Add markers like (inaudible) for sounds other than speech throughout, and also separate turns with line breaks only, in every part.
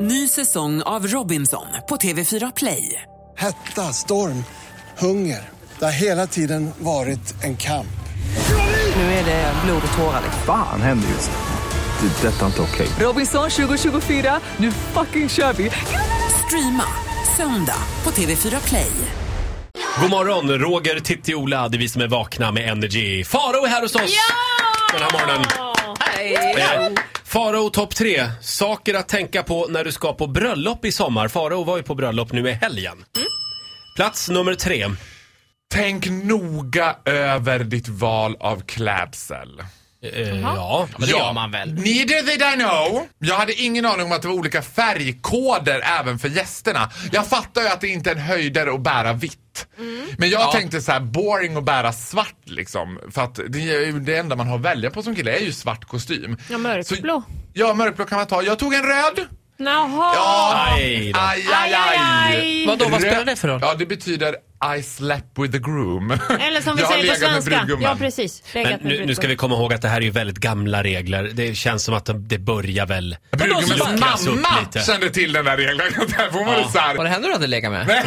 Ny säsong av Robinson på TV4 Play.
Hetta, storm, hunger. Det har hela tiden varit en kamp.
Nu är det blod och tårar.
Fan händer just nu. Det. är Detta är inte okej.
Robinson 2024, nu fucking kör vi! Streama söndag på TV4 Play.
God morgon, Roger, Titti, Ola. Det är vi som är vakna med Energy. Farao är här hos oss den här morgonen. Eh, Farao topp tre. Saker att tänka på när du ska på bröllop i sommar. Farao var ju på bröllop nu i helgen.
Mm.
Plats nummer tre.
Tänk noga över ditt val av klädsel.
Eh, ja.
Men det gör man väl?
Neither did I know. Jag hade ingen aning om att det var olika färgkoder även för gästerna. Jag fattar ju att det inte är en höjdare att bära vitt.
Mm.
Men jag tänkte så här: boring att bära svart liksom. För att det, är ju det enda man har att välja på som kille är ju svart kostym.
Ja, mörkblå.
Så, ja, mörkblå kan man ta. Jag tog en röd.
Jaha!
Ja.
Aj då.
aj, aj, aj.
Vadå, vad spelar det för roll?
Ja, det betyder I slept with the groom.
Eller som vi
jag har
säger på
legat med
svenska.
brudgummen.
Ja, precis.
Men nu, nu ska vi komma ihåg att det här är ju väldigt gamla regler. Det känns som att de- det börjar väl
Brudgummens
luckras upp
mamma
lite.
kände till den där regeln. (laughs) Där får man
Ja.
ja. så här.
Var det henne du hade
(laughs)
legat med?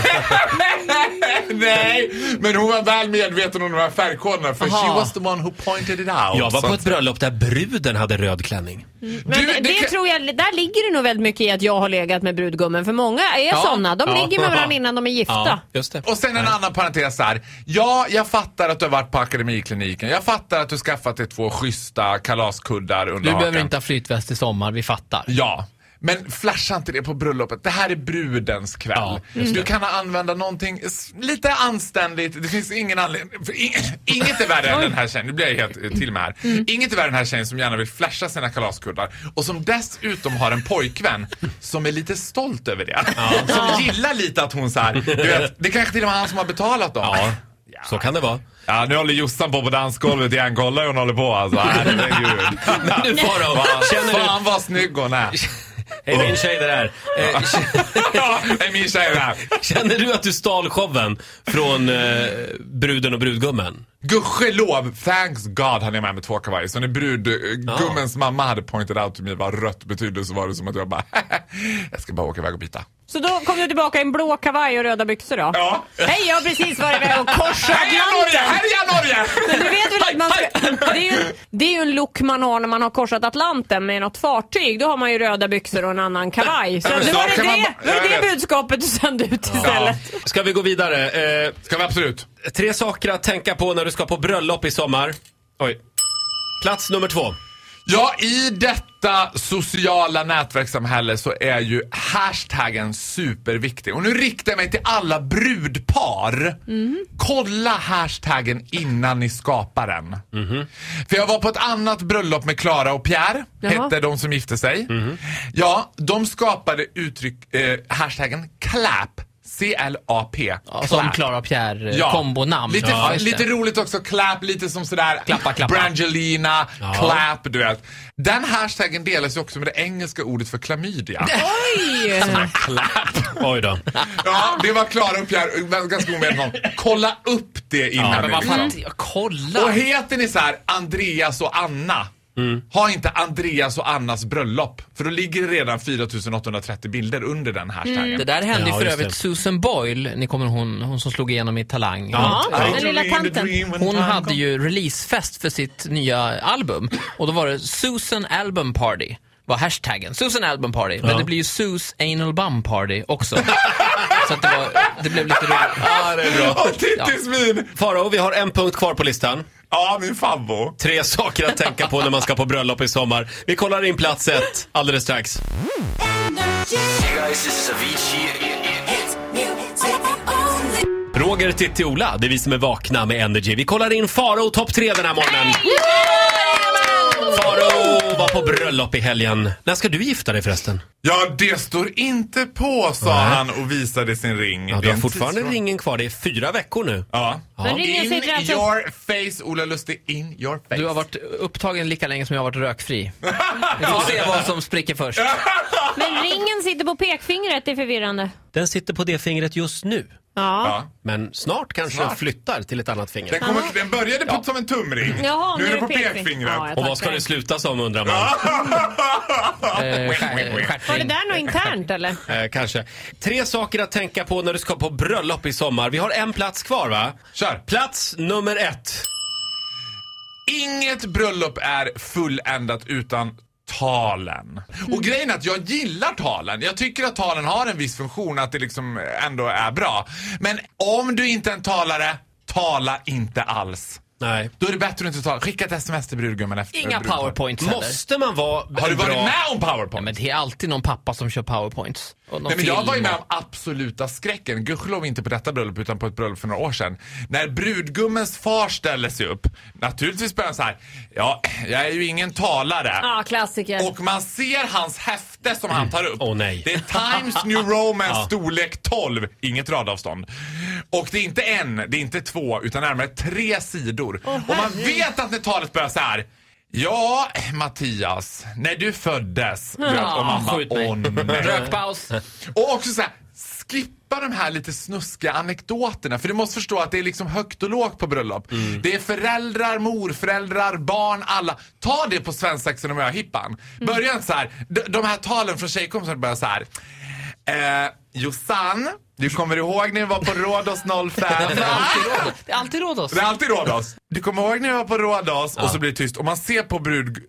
Nej, men hon var väl medveten om de här färgkoderna för
Aha.
she was the one who pointed it out.
Jag var
Så
på
att-
ett bröllop där bruden hade röd klänning.
Mm.
Men
Du,
det,
det kan-
tror jag, där ligger det nog väldigt mycket i att jag har legat med brudgummen. För många är
Ja.
såna. De
Ja.
ligger med varandra innan de är gifta.
just det.
Och sen en annan parentes här. Ja, jag fattar att du har varit på akademikliniken. Jag fattar att du skaffat dig två schyssta kalaskuddar under
Du behöver
hakan.
inte ha flytväst i sommar, vi fattar.
Ja. Men flasha inte det på bröllopet. Det här är brudens kväll.
Ja,
Du kan använda någonting s- lite anständigt. Det finns ingen anledning. för ing- (laughs) Inget är värre än den här tjejen. Nu blir jag helt eh, till med här.
Mm.
Inget är värre än den här tjejen som gärna vill flasha sina kalaskuddar och som dessutom har en pojkvän som är lite stolt över det. Som gillar lite att hon så här, du vet, det är kanske till och med han som har betalat dem.
Ja, så kan det vara.
Ja, nu håller Jossan på på dansgolvet igen. Kolla hur hon håller
(laughs)
på alltså. Herregud.
Men du Farao, känner du...
Fan vad snygg hon är.
Hej min tjej det där. Eh,
Ja, (laughs) det är min tjej det här.
Känner du att du stal showen från eh, bruden och brudgummen?
Gudskelov, thanks God, han är med med två kavajer. Så när brudgummens mamma hade pointed out till mig vad rött betyder så var det som att jag bara, (laughs) jag ska bara åka iväg och byta.
Så då kom du tillbaka i en blå kavaj och röda byxor då?
Ja.
Hej, jag har precis varit iväg och korsat
Heja Norge!
Atlanten!
Heja Norge!
Men du vet väl att man ska, det, är ju, det är ju en look man har när man har korsat Atlanten med något fartyg. Då har man ju röda byxor och en annan kavaj. Så
Ja, men
nu
så
var det
kan man
det,
ba-
var det,
jag
det
vet.
budskapet du sände ut
Ja.
istället.
Ska vi gå vidare? Eh,
Ska vi absolut.
tre saker att tänka på när du ska på bröllop i sommar. Oj. Plats nummer två.
Ja, i detta sociala nätverkssamhälle så är ju hashtaggen superviktig. Och nu riktar jag mig till alla brudpar.
Mm.
Kolla hashtaggen innan ni skapar den.
Mm-hmm.
För jag var på ett annat bröllop med Klara och Pierre,
Jaha.
hette de som gifte sig.
Mm-hmm.
Ja, de skapade uttryck, eh, hashtaggen clap. C-L-A-P.
Ja, Som Klara och Pierre eh, kombonamn.
Lite,
Ja, just det.
lite roligt också, clap, lite som sådär
Klappa, klappa.
Brangelina, clap, du vet. Den hashtaggen delas ju också med det engelska ordet för
(laughs)
klamydia.
Oj då.
ja, det var Klara och Pierre, eh, ganska omedvetna om. Kolla upp det innan.
Ja, men vad
liksom.
fan, jag kollar.
Och heter ni så här Andreas och Anna,
Mm.
ha inte Andreas och Annas bröllop. För då ligger det redan 4830 bilder under den hashtaggen.
Det där
Ja,
hände ju för
just det.
övrigt Susan Boyle, ni kommer hon, hon som slog igenom i Talang.
Ja.
I
Den lilla
dreamed a
tanten.
dream when
Hon
time
hade
comes.
ju releasefest för sitt nya album och då var det Susan Album Party var hashtaggen. Susan Album Party. Men det blir ju Sus Anal Bum Party också. Så att det, var, det blev lite roligt.
Ja, det är bra.
Åh, Tittis min!
Farao, vi har en punkt kvar på listan.
Ja, min favvo.
Tre (laughs) saker att tänka på när man ska på bröllop i sommar. Vi kollar in plats ett alldeles strax.
Hey guys, this is Avicii.
Roger, Titti, Ola. Det är vi som är vakna med Energy. Vi kollar in Farao topp tre den här morgonen. Farao var på bröllop i helgen. När ska du gifta dig förresten?
Ja, det står inte på, sa han och visade sin ring.
Ja,
Det
du
är
har
en
fortfarande
tidsfråga.
ringen kvar. Det är fyra veckor nu.
Ja.
Men ringen
In
sitter alltså...
your face, Ola Lustig. In your face.
Du har varit upptagen lika länge som jag har varit rökfri. Vi får se vad som spricker först.
Men ringen sitter på pekfingret, det är förvirrande.
Den sitter på det fingret just nu.
Ja.
Ja.
Men snart kanske den
Snart.
flyttar till ett annat
Den,
finger.
kommer, den började på, som en tumring.
Jaha,
nu är den på
pekfing-
pekfingret.
Ja, jag
Och vad ska
fattar.
det sluta som undrar man?
Eh, skär-
Var det
skärpning.
där något internt eller?
Eh, kanske. Tre saker att tänka på när du ska på bröllop i sommar. Vi har en plats kvar va?
Kör.
Plats nummer ett.
Inget bröllop är fulländat utan talen. Och grejen är att jag gillar talen. Jag tycker att talen har en viss funktion, att det liksom ändå är bra. Men om du inte är en talare, tala inte alls.
Nej.
Då är det bättre att inte tala. Skicka ett sms till brudgummen efter.
Inga
brudgummen.
powerpoints heller.
Måste man vara
Har du varit
bra?
med om powerpoint?
Ja, men det är alltid någon pappa som kör powerpoints. Och någon
Nej, men jag
film
var ju med
och-
om absoluta skräcken, gudskelov inte på detta bröllop utan på ett bröllop för några år sedan. När brudgummens far ställer sig upp, naturligtvis börjar han så här, ja, jag är ju ingen talare.
(laughs) Ja, klassiker.
Och man ser hans häfte som han tar upp.
Åh, nej.
Det är Times New Roman storlek 12, inget radavstånd. Och det är inte en, det är inte två, utan närmare tre sidor. och man vet att när talet börjar så här. Ja, Mattias, när du föddes. Du vet, och man bara,
skjut mig.
åh nej.
Rökpaus.
Och också så här, skippa de här lite snuskiga anekdoterna. För du måste förstå att det är liksom högt och lågt på bröllop.
Mm.
Det är föräldrar, morföräldrar, barn, alla. Ta det på svensexan och möhippan.
Mm.
Börja inte så här, de, de här talen från tjejkompisar börjar så här. Eh, Jossan, du kommer ihåg när vi var på Rhodos 05?
(laughs) Det är alltid Rhodos.
Det är alltid Rhodos. Du kommer ihåg när vi var på Rhodos och så blir det tyst och man ser på brud, eh,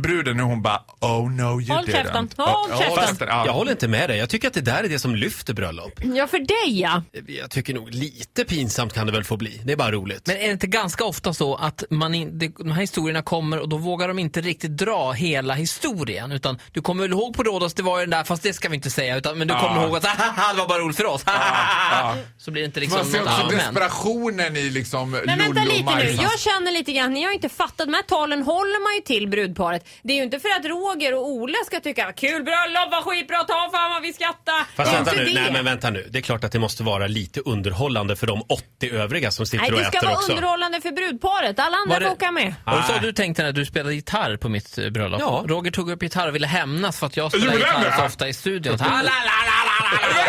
bruden hur hon bara Oh no you
Håll
didn't.
käften.
Ja,
Håll käften.
Ja.
Jag håller inte med dig. Jag tycker att det där är det som lyfter bröllop.
Ja, för dig ja.
Jag tycker nog lite pinsamt kan det väl få bli. Det är bara roligt.
Men är det inte ganska ofta så att man in, det, de här historierna kommer och då vågar de inte riktigt dra hela historien? Utan du kommer väl ihåg på Rhodos, det var ju den där, fast det ska vi inte säga. Utan, men du kommer ihåg att (laughs) "Hahaha, det var bara roligt för oss.
ja.
(laughs) Så blir det inte
Man
liksom
ser
något
också
allmänt.
desperationen i liksom
Men vänta
Lollo och
lite nu.
Majsan.
Jag känner lite grann, ni har inte fattat. De här talen håller man ju till brudparet. Det är ju inte för att Roger och Ola ska tycka kul bröllop, vad skitbra, ta fan vad vi skrattar.
Fast
det är
vänta
inte
nu.
det.
Nej men vänta nu. Det är klart att det måste vara lite underhållande för de 80 övriga som sitter
Nej,
och
det ska
äter
vara
också.
underhållande för brudparet. Alla andra
Var det-
får åka med.
Och så har du tänkt när du spelade gitarr på mitt eh, bröllop.
Ja.
Roger tog upp gitarr och ville hämnas för att jag spelade
Gjorde han
gitarr
det?
så ofta
(laughs)
i studion. Så, "Ah, la, la, la, la, la,